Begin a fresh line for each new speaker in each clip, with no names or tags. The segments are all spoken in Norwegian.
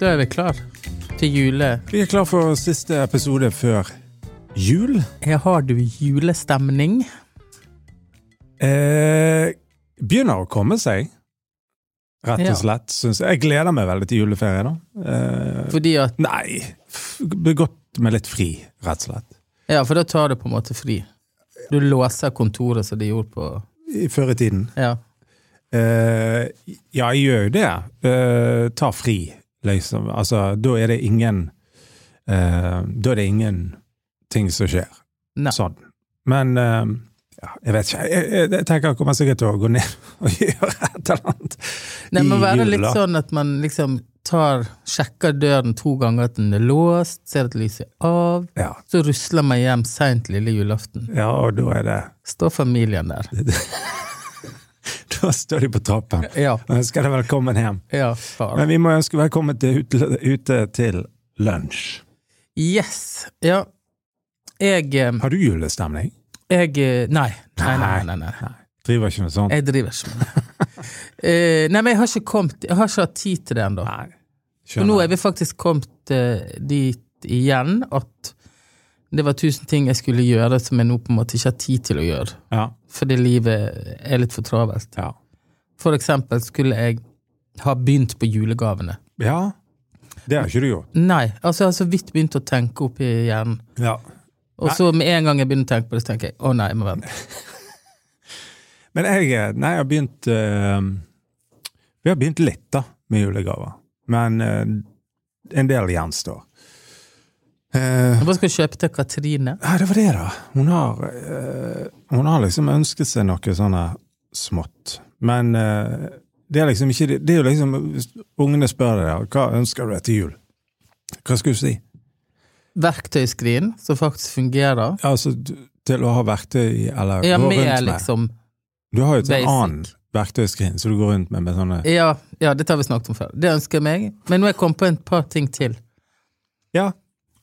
Da er vi klar til jule.
Vi er klar for siste episode før jul.
Her har du julestemning.
Eh, begynner å komme seg, rett
Ja.
og slett. Synes jeg. jeg gleder meg veldig til juleferie, da. Eh,
Fordi at
nei, f- begått med litt fri, rett og slett.
Ja, for da tar du på en måte fri. Du låser kontoret som de gjorde på
I- Før i tiden.
Ja.
Eh, ja, jeg gjør jo det. Eh, ta fri, liksom. Altså, da er det ingen eh, Da er det ingen ting som skjer.
Nei.
Sånn. Men eh, ja, jeg vet ikke. Jeg, jeg, jeg tenker jeg kommer sikkert til å gå ned og gjøre et eller annet
Nei, men være litt
jula.
sånn at man liksom tar, sjekker døren to ganger at den er låst, ser at lyset er av,
Ja.
så rusler man hjem seint lille julaften.
ja, og da er det
Står familien der.
Da står de på trappen.
Ja.
Ønsker deg velkommen hjem.
Ja, far.
Men vi må ønske velkommen til ute, ute til lunsj.
Yes. Ja. Jeg eh,
Har du julestemning?
Jeg eh, Nei. Nei, nei, nei. nei.
Driver ikke med sånt?
Jeg driver ikke med det. Eh, nei, men jeg har ikke kommet Jeg har ikke hatt tid til det ennå.
Nei.
For nå
Skjønner.
er vi faktisk kommet eh, dit igjen at det var tusen ting jeg skulle gjøre som jeg nå på en måte ikke har tid til å gjøre,
Ja.
fordi livet er litt for travelt.
Ja.
For eksempel skulle jeg ha begynt på julegavene.
Ja, det har ikke du gjort.
Nei, altså jeg har så vidt begynt å tenke opp i hjernen. Og så med en gang jeg begynner å tenke på det, så tenker jeg å nei, jeg må vente.
Men jeg, nei, jeg har begynt eh, Vi har begynt litt, da, med julegaver. Men eh, en del gjenstår. Eh,
Jeg bare skal kjøpe til Katrine.
ja, det var det, da. Hun har, eh, hun har liksom ønsket seg noe sånn her smått. Men eh, det er liksom ikke det- Det er jo liksom Hvis ungene spør deg da, hva ønsker du deg til jul, hva skal du si?
Verktøyskrin, som faktisk fungerer.
Altså, du- til å ha verktøy eller
Ja,
gå
med
rundt med.
liksom
Du har jo et sånn
Basic.
annen verktøyskrin som du går rundt med med sånne
Ja, ja, dette har vi snakket om før. Det ønsker jeg meg. Men nå har jeg kommet på et par ting til.
Ja.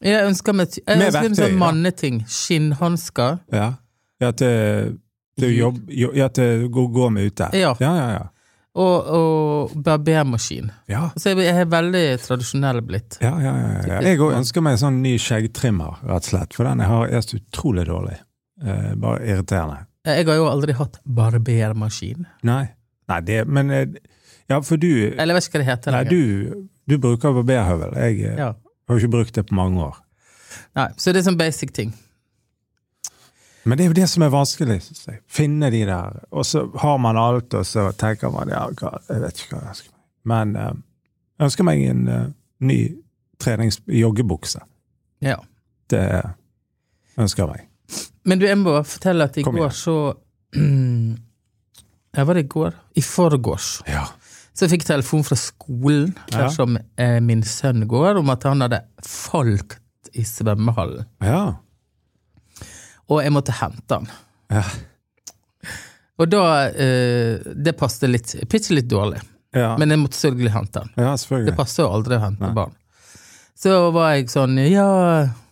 Jeg ønsker meg, jeg
Med
ønsker meg
verktøy,
sånn
ja.
manneting. Skinnhansker.
Ja, ja til, til
Jul.
jobb jo, Ja, til å gå, gå med ute.
Ja.
ja, ja. ja.
Og, og barbermaskin.
ja.
Så jeg, jeg er veldig tradisjonell blitt.
Ja, ja, ja, ja. Jeg òg ønsker meg en sånn ny skjeggtrimmer, rett og slett. For den jeg har, er så utrolig dårlig. Eh, bare irriterende.
Jeg har jo aldri hatt barbermaskin.
Nei. Nei, det Men eh, Ja, for du
Eller jeg vet ikke hva det heter.
Nei,
lenger.
du, du bruker barberhøvel. Jeg eh,
Ja.
har jo ikke brukt det på mange år.
Nei, så det er sånn basic ting.
Men det er jo det som er vanskelig. Synes jeg. Finne de der. Og så har man alt, og så tenker man ja, hva, jeg vet ikke hva jeg ønsker meg. Men eh, jeg ønsker meg en eh, ny treningsjoggebukse.
Ja.
Det ønsker jeg meg.
Men du, jeg må bare fortelle at i
Kom igjen.
går så Ja, var det i går? I forgårs.
Ja.
Så jeg fikk telefon fra skolen der
Ja.
som eh, min sønn går, om at han hadde falt i svømmehallen.
Ja.
Og jeg måtte hente han.
Ja.
Og da eh, Det passet litt Bitte litt dårlig,
Ja,
men jeg måtte selvfølgelig hente han.
ja
Det
selvfølgelig.
passer jo aldri å hente
Nei.
barn. Så var jeg sånn Ja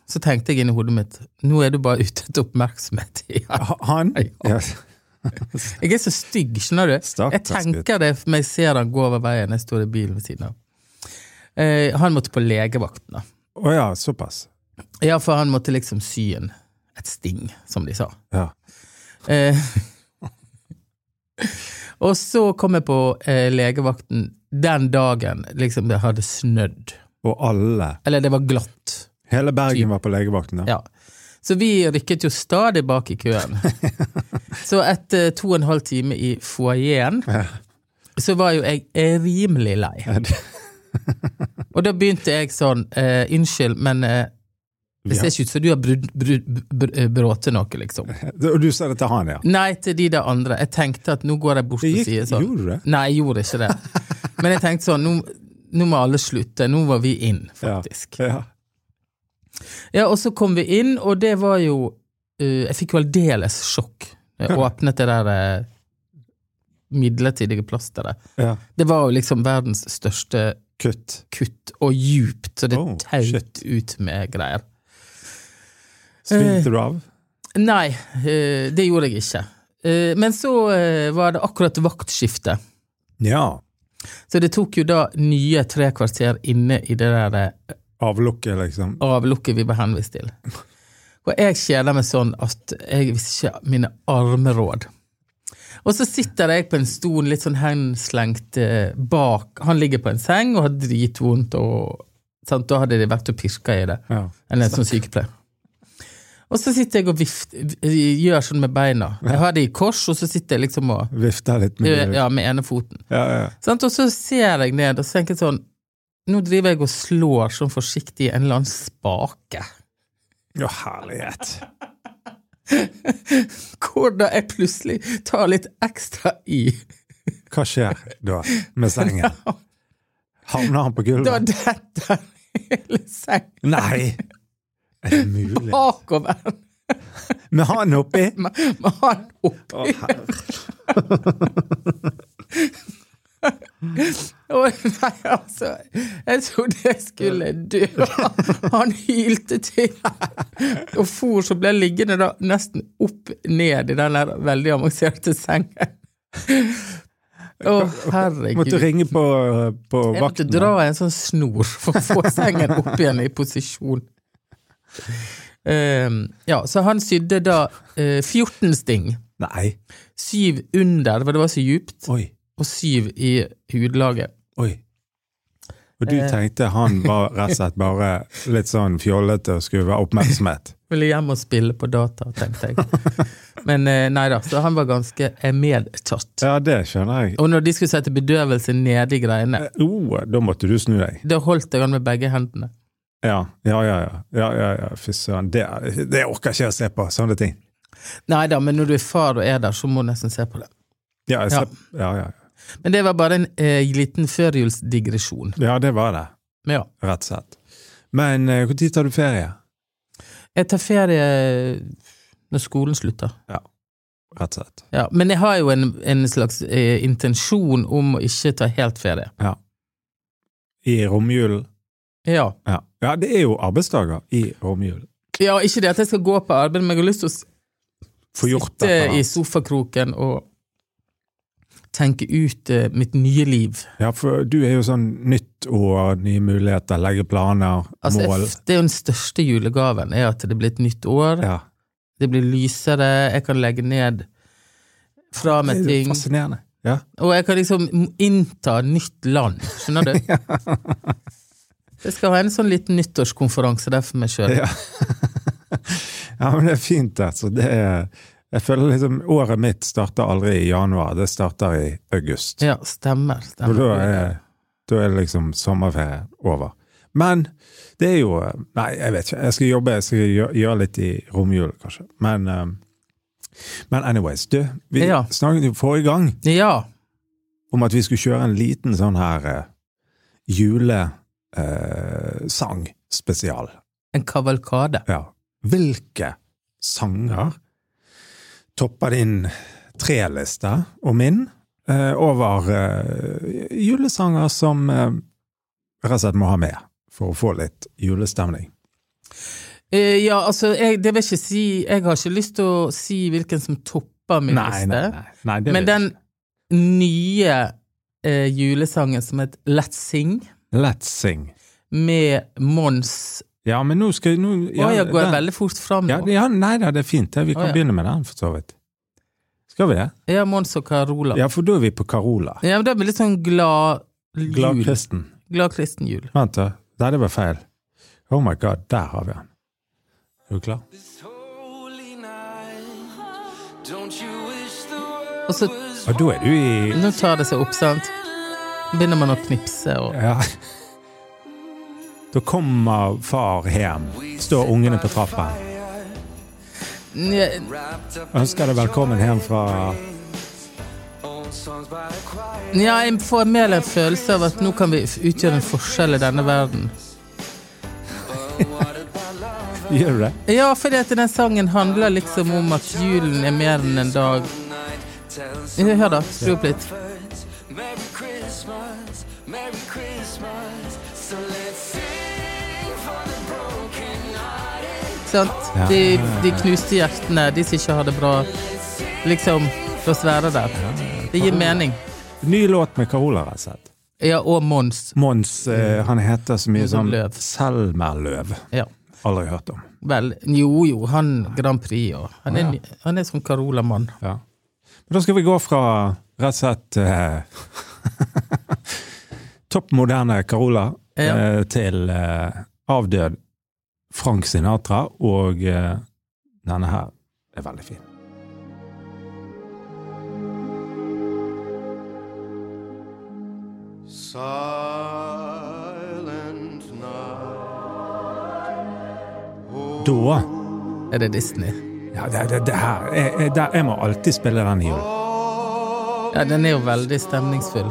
Så tenkte jeg inni hodet mitt Nå er du bare ute etter oppmerksomhet. Ja.
Ha- Han?
Ja. Jeg er så stygg, skjønner du. Jeg
Stakkars gutt.
tenker det når jeg ser han gå over veien. Jeg står i bilen ved siden av. Eh, han måtte på legevakten. da.
Å ja, såpass.
Ja, for han måtte liksom sy en et sting, som de sa.
Ja.
Eh, og så kom jeg på eh, legevakten den dagen liksom det hadde snødd.
Og alle.
Eller det var glatt.
Hele Bergen var på legevakten. da.
Ja. Så vi rykket jo stadig bak i køen. så etter to og en halv time i foajeen, så var jo jeg eh, rimelig lei.
Ja, det-
Og da begynte jeg sånn eh, Unnskyld, men eh, det
Ja.
ser ikke ut som du har brud- brud- br- br- bråte noe, liksom.
Og du sa det til han, ja?
Nei til de der andre. Jeg tenkte at nå går jeg bort
Det
og
gikk,
sier sånn.
Gjorde du det?
Nei, jeg gjorde ikke det. Men jeg tenkte sånn, nå, nå må alle slutte. Nå var vi inn,
Ja.
faktisk.
Ja.
Ja, og så kom vi inn, og det var jo eh, Jeg fikk jo aldeles sjokk da jeg åpnet det der eh, midlertidige plasteret.
ja.
Det var jo liksom verdens største
Kutt.
kutt, og djupt, så det
Oh,
taut ut med greier.
Svimte du av?
Nei, eh, det gjorde jeg ikke. Eh, men så eh, var det akkurat vaktskifte.
Ja.
Så det tok jo da nye tre kvarter inne i det der eh,
Avlukket, liksom.
avlukket vi ble henvist til. Og jeg kjeder meg sånn at jeg visste ikke mine armeråd. Og så sitter jeg på en stol litt sånn henslengt eh, bak. Han ligger på en seng og har dritvondt, og sant? da hadde de vært og pirka i det.
Ja.
Eller som sykepleier. Og så sitter jeg og vift, gjør sånn med beina. Jeg har det i kors, og så sitter jeg liksom og
Vifter litt med
Ja, med ene foten.
Ja, ja.
Sant? Og så ser jeg ned og så tenker jeg sånn Nå driver jeg og slår sånn forsiktig i en eller annen spake.
Å, herlighet.
Hvordan jeg plutselig tar litt ekstra i.
Hva skjer da med sengen? Havner han på
Da
gulvet?
detter hele sengen
Nei! Er det mulig?
bakover
Med han oppi?
med, med han
Å,
oppi.
herre.
Og nei, altså, jeg trodde jeg skulle dø. Han hylte til og for, så ble jeg liggende da nesten opp ned i den der veldig avanserte sengen. Å, herregud.
Måtte ringe på, på
Jeg måtte
vakten.
dra i en sånn snor for å få sengen opp igjen i posisjon. Ehm, ja, så han sydde da eh, 14 sting.
Nei.
Syv under, for det var så djupt,
Oi.
og syv i hudlaget.
Oi. Og
Eh.
du tenkte han var rett og slett bare litt sånn fjollete og skulle være oppmerksomhet?
Ville hjem og spille på data, tenkte jeg. Men eh, nei da, så han var ganske eh, medtatt.
Ja, det skjønner jeg.
Og når de skulle sette bedøvelse nede i greiene,
Oh, da måtte du snu deg.
da holdt jeg han med begge hendene.
Ja, ja, ja. ja, ja, ja, ja. Fy søren. Det, det orker ikke jeg å se på. Sånne ting.
Nei da, men når du er far og er der, så må du nesten se på det.
Ja, jeg
Ja.
ser, ja. Ja, ja.
Men det var bare en eh, liten førjulsdigresjon.
ja, det var det.
Men ja.
Rett og slett. Men når tid tar du ferie?
Jeg tar ferie når skolen slutter.
Rett og slett.
Ja, men jeg har jo en, en slags eh, intensjon om å ikke ta helt ferie.
I romjulen?
Ja.
Ja. ja, det er jo arbeidsdager i romjulen.
ja, ikke det at jeg skal gå på arbeid, men jeg har lyst til å s-
Få gjort
sitte
dette.
i
da.
sofakroken og tenke ut eh, mitt nye liv.
Ja, for du er jo sånn nytt år, nye muligheter, legge planer,
Altså, jeg
mål.
f- det er jo den største julegaven, er at det blir et nytt år,
Ja.
det blir lysere, jeg kan legge ned fra
Det
meg
er jo
ting.
fascinerende. Ja.
Og jeg kan liksom innta nytt land, skjønner du? Jeg skal ha en sånn liten nyttårskonferanse der for meg sjøl.
Ja. ja, men det er fint, altså. Det er, jeg føler liksom året mitt starter aldri i januar, det starter i august.
Ja, stemmer.
For da
stemmer.
er, da er det liksom sommerferie over. Men det er jo eh, Nei, jeg vet ikke. Jeg skal jobbe, jeg skal gjø- gjøre litt i romjulen, kanskje. Men, um, men anyways, du. Vi
Ja.
snakket jo forrige gang
Ja.
om at vi skulle kjøre en liten sånn her eh, uh, julesangspesial.
En kavalkade.
ja. Hvilke sanger topper din treliste og min eh, over eh, julesanger som eh, rett og slett må ha med for å få litt julestemning?
Eh, ja, altså, jeg, det vil ikke si Jeg har ikke lyst til å si hvilken som topper min liste,
nei, det
men
vil-
den nye eh, julesangen som het Let's Sing,
Let's sing.
med Mons
Ja, men nå skal nå,
Å, jeg går
den-
veldig fort fram
ja,
nå.
ja, Nei da, det er fint. det. Vi kan
Å, ja.
begynne med den, for så vidt. Skal vi det?
Ja, Mons og Carola.
Ja, for da er vi på Carola.
Ja, men det blir litt sånn glad jul.
Glad kristen.
Glad kristen jul.
Vent, da. Nei, det var feil. Oh my god, der har vi den. Er du klar?
This holy night, don't you wish the
Og så,
world was
Ja, da er du i
nå tar det seg opp, sant? Begynner man å knipse og
Ja. Da kommer far hjem, står ungene på trappa.
Nja,
wrapped up
Ønsker deg velkommen hjem fra
old songs by a choir?
Ja, jeg får mer en følelse av at nå kan vi f- utgjøre en forskjell i denne verden.
What about love?
Gjør du det?
Ja, fordi at den sangen handler liksom om at julen er mer enn en dag.
Night tells
Hør hør da, skru opp litt.
us Merry Christmas, Merry Christmas. So let's sing for the broken hearted.
Sant?
Ja.
De, de knuste hjertene, de som ikke har det bra. Liksom, la oss være der. Det gir mening.
Ny låt med Carola, rett og slett.
Ja, og Mons.
Mons, eh, han heter så mye
Mons
som
Løv.
Selmerløv.
Ja.
Aldri hørt om.
Vel, jo jo, han Grand Prix og Han er,
Å, ja.
ny- han er som Carola-mann.
Ja. Men da skal vi gå fra rett og slett eh, topp moderne Carola
Ja.
eh, til eh, avdød Frank Sinatra, og eh, denne her er veldig fin.
Silent night.
Da
Er det Disney?
Ja, det, det, det her jeg, jeg, der, jeg må alltid spille den i jul.
Ja, den er jo veldig stemningsfull.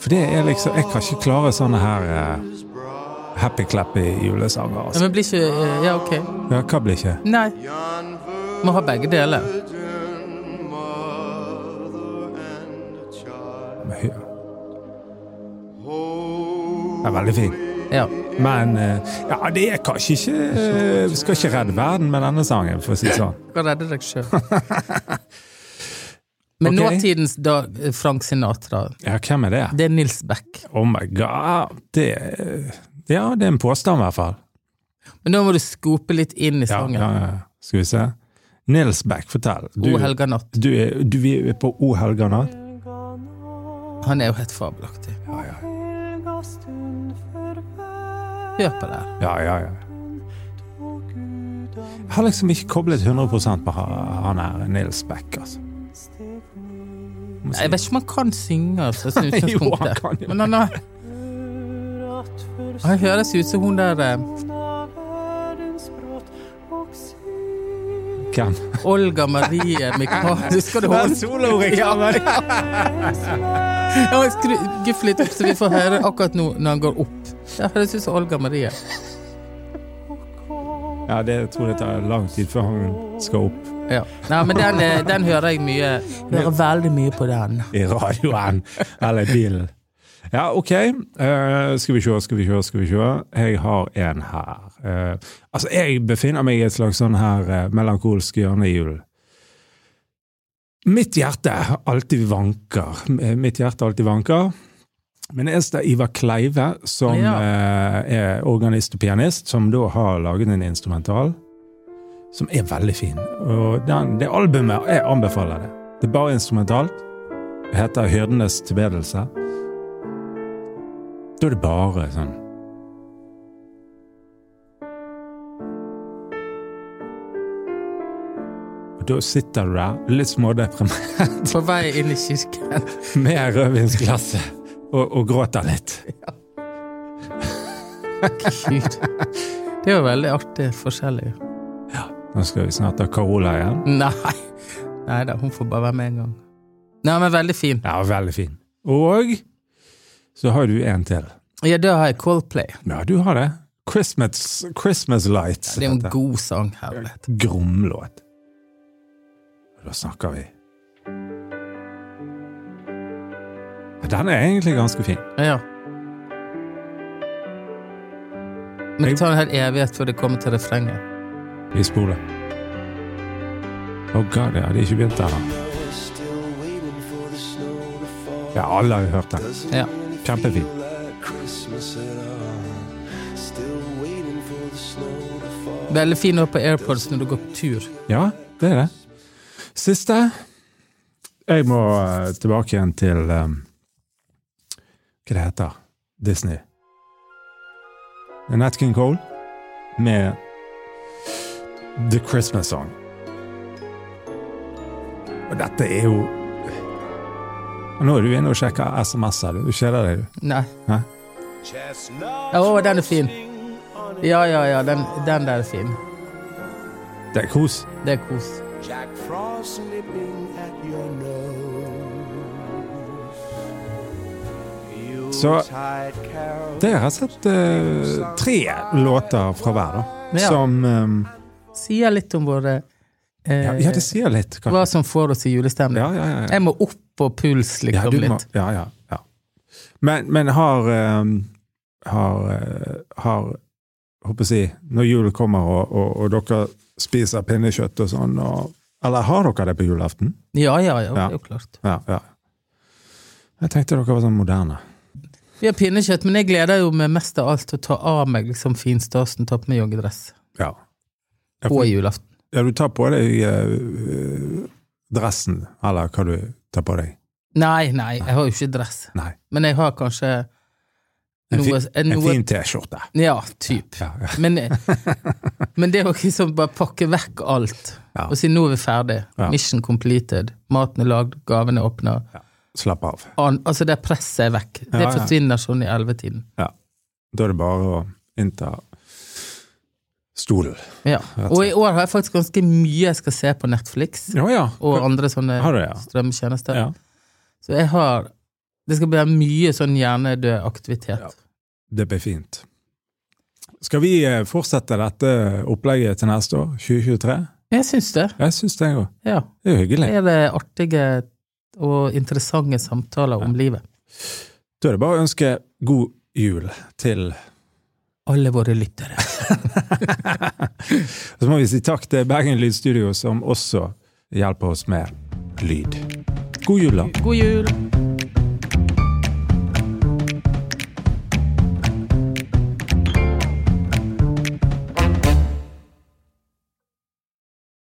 For det er liksom Jeg kan ikke klare sånne her eh, happy-clappy julesanger.
Ja,
Altså.
men blir ikke eh, Ja, ok.
Ja, hva blir ikke?
Nei. Må ha begge deler.
Virgin mother and child.
Men hy- Den
Holy Oh.
er veldig fin.
Ja.
Men eh, ja, det er kanskje ikke eh, Vi skal ikke redde verden med denne sangen, for å si det sånn.
Skal redde deg sjøl. Men
Ok.
nåtidens da, Frank Sinatra,
Ja, hvem er det?
det er Nils Beck.
Oh my god! Det eh, Ja, det er en påstand, i hvert fall.
Men nå må du skope litt inn i
Ja,
sangen.
ja, ja. Skal vi se. Nils Beck, fortell. Du,
O helga natt.
du, er, du vi er på O helga natt?
Han er jo helt fabelaktig.
Ja, ja,
Hør på det. her.
ja. ja, ja. Jeg har liksom ikke koblet 100 på ha- han her Nils Beck, altså.
Jeg vet ikke om han kan synge, altså, sånn i
Jo, han
utgangspunktet.
kan jo
Men han, har, han høres ut som hun der eh,
Hvem?
Olga Marie Michael... Skal du holde
soloreklamen!
Ja, men skru, guff litt opp, så vi får høre akkurat nå når han går opp. Det høres ut som Olga Marie.
Ja, det tror jeg tar lang tid før han skal opp
Ja. Nei, men den, eh, den hører jeg mye. Hører veldig mye på den.
i radioen eller i bilen. Ja, ok. Eh, skal vi se, skal vi se, skal vi se. Jeg har en her. Eh, altså, jeg befinner meg i et slags sånn her eh, melankolsk hjørne i julen. Mitt hjerte alltid vanker. Eh, Mitt hjerte alltid vanker. Men det er Ivar Kleive, som
Ja.
eh, er organist og pianist, som da har laget en instrumental som er veldig fin. Og den, det albumet, jeg anbefaler det. Det er bare instrumentalt. Det heter Hyrdenes tilbedelse. Da er det bare sånn Og da sitter du der, litt smådeprimert,
På vei inn i kirken.
med rødvinsglasset og, og gråter litt.
Gud. Det er jo veldig artig forskjellig.
Nå skal vi snart ha Carola igjen.
Nei. Nei da, hun får bare være med en gang. Nei, men veldig fin.
Ja, veldig fin. Og så har du en til.
Ja, da har jeg Coldplay.
Ja, du har det. Christmas, Christmas Lights.
Det er jo en
heter
god sang. herlighet.
det. Gromlåt. Da snakker vi. Ja, Den er egentlig ganske fin.
Ja. Men det tar en hel evighet før det kommer til refrenget.
Vi spoler. Å god, ja, det er ikke begynt ennå.
Still waiting for the snow to fall.
Ja, alle har jo hørt den.
Doesn't
Ja.
really
Kjempefin.
feel like Christmas at all. Still waiting for the snow to fall.
Veldig fin å ha på AirPods når du går på tur.
Ja, det er det. Siste. Jeg må eh, tilbake igjen til eh, Hva det heter Disney. Det er Nat King Cole med The Christmas Song. Og dette er jo Og Nå er du inne og sjekker SMS-er. Du kjeder deg, du.
Nei.
Hæ?
Å, den er fin. Ja, ja, ja, den, den der er fin.
Det er kos.
Det er kos.
Jack Frost nipping at your nose.
Så
Tide carols
det er rett og slett eh, tre låter fra hver, da.
Ja.
Som eh,
Sier litt om våre eh,
Ja, ja det sier litt. Kanskje.
Hva som får oss i julestemning.
Ja, ja, ja.
Jeg må opp på puls
ja,
liksom
du må,
litt.
ja, ja, ja. Men, men har ehm, har, eh, har håper jeg å si, når julen kommer og, og, og dere spiser pinnekjøtt og sånn, og, eller har dere det på julaften?
Ja, ja, ja, det er jo klart.
Ja, ja. Jeg tenkte dere var sånn moderne.
Vi har pinnekjøtt, men jeg gleder jo meg mest av alt til å ta av meg liksom finstasen, ta på meg joggedress
Ja. Ja,
på
for-
julaften.
ja, du tar på deg eh, dressen, eller hva du tar på deg.
Nei, nei, jeg har jo ikke dress,
Nei.
men jeg har kanskje
En,
noe,
fin-
en
en
noe
fin T-skjorte.
Ja, typ.
Ja, ja.
Men, eh, men det å liksom bare pakke vekk alt
Ja.
og si nå er vi ferdig,
Ja.
mission completed, maten er lagd, gavene er åpna
Slapp av.
An- Altså, det presset er vekk. Det
Ja, ja.
forsvinner sånn i ellevetiden.
Ja. Da er det bare å innta stolen.
Ja. Og i år har jeg faktisk ganske mye jeg skal se på Netflix
Å ja.
og andre sånne
Har du, ja.
strømtjenester.
ja.
Så jeg har Det skal bli mye sånn hjernedød aktivitet.
Ja. Det blir fint. Skal vi eh, fortsette dette opplegget til neste år, 2023?
Jeg syns det.
Jeg syns det går.
Ja.
Det er jo hyggelig.
Er det artige og interessante samtaler om livet?
Da er det bare å ønske god jul til
Alle våre lyttere.
Så må vi si takk til Bergen Lydstudio, som også hjelper oss med lyd. God jul, da.
God jul!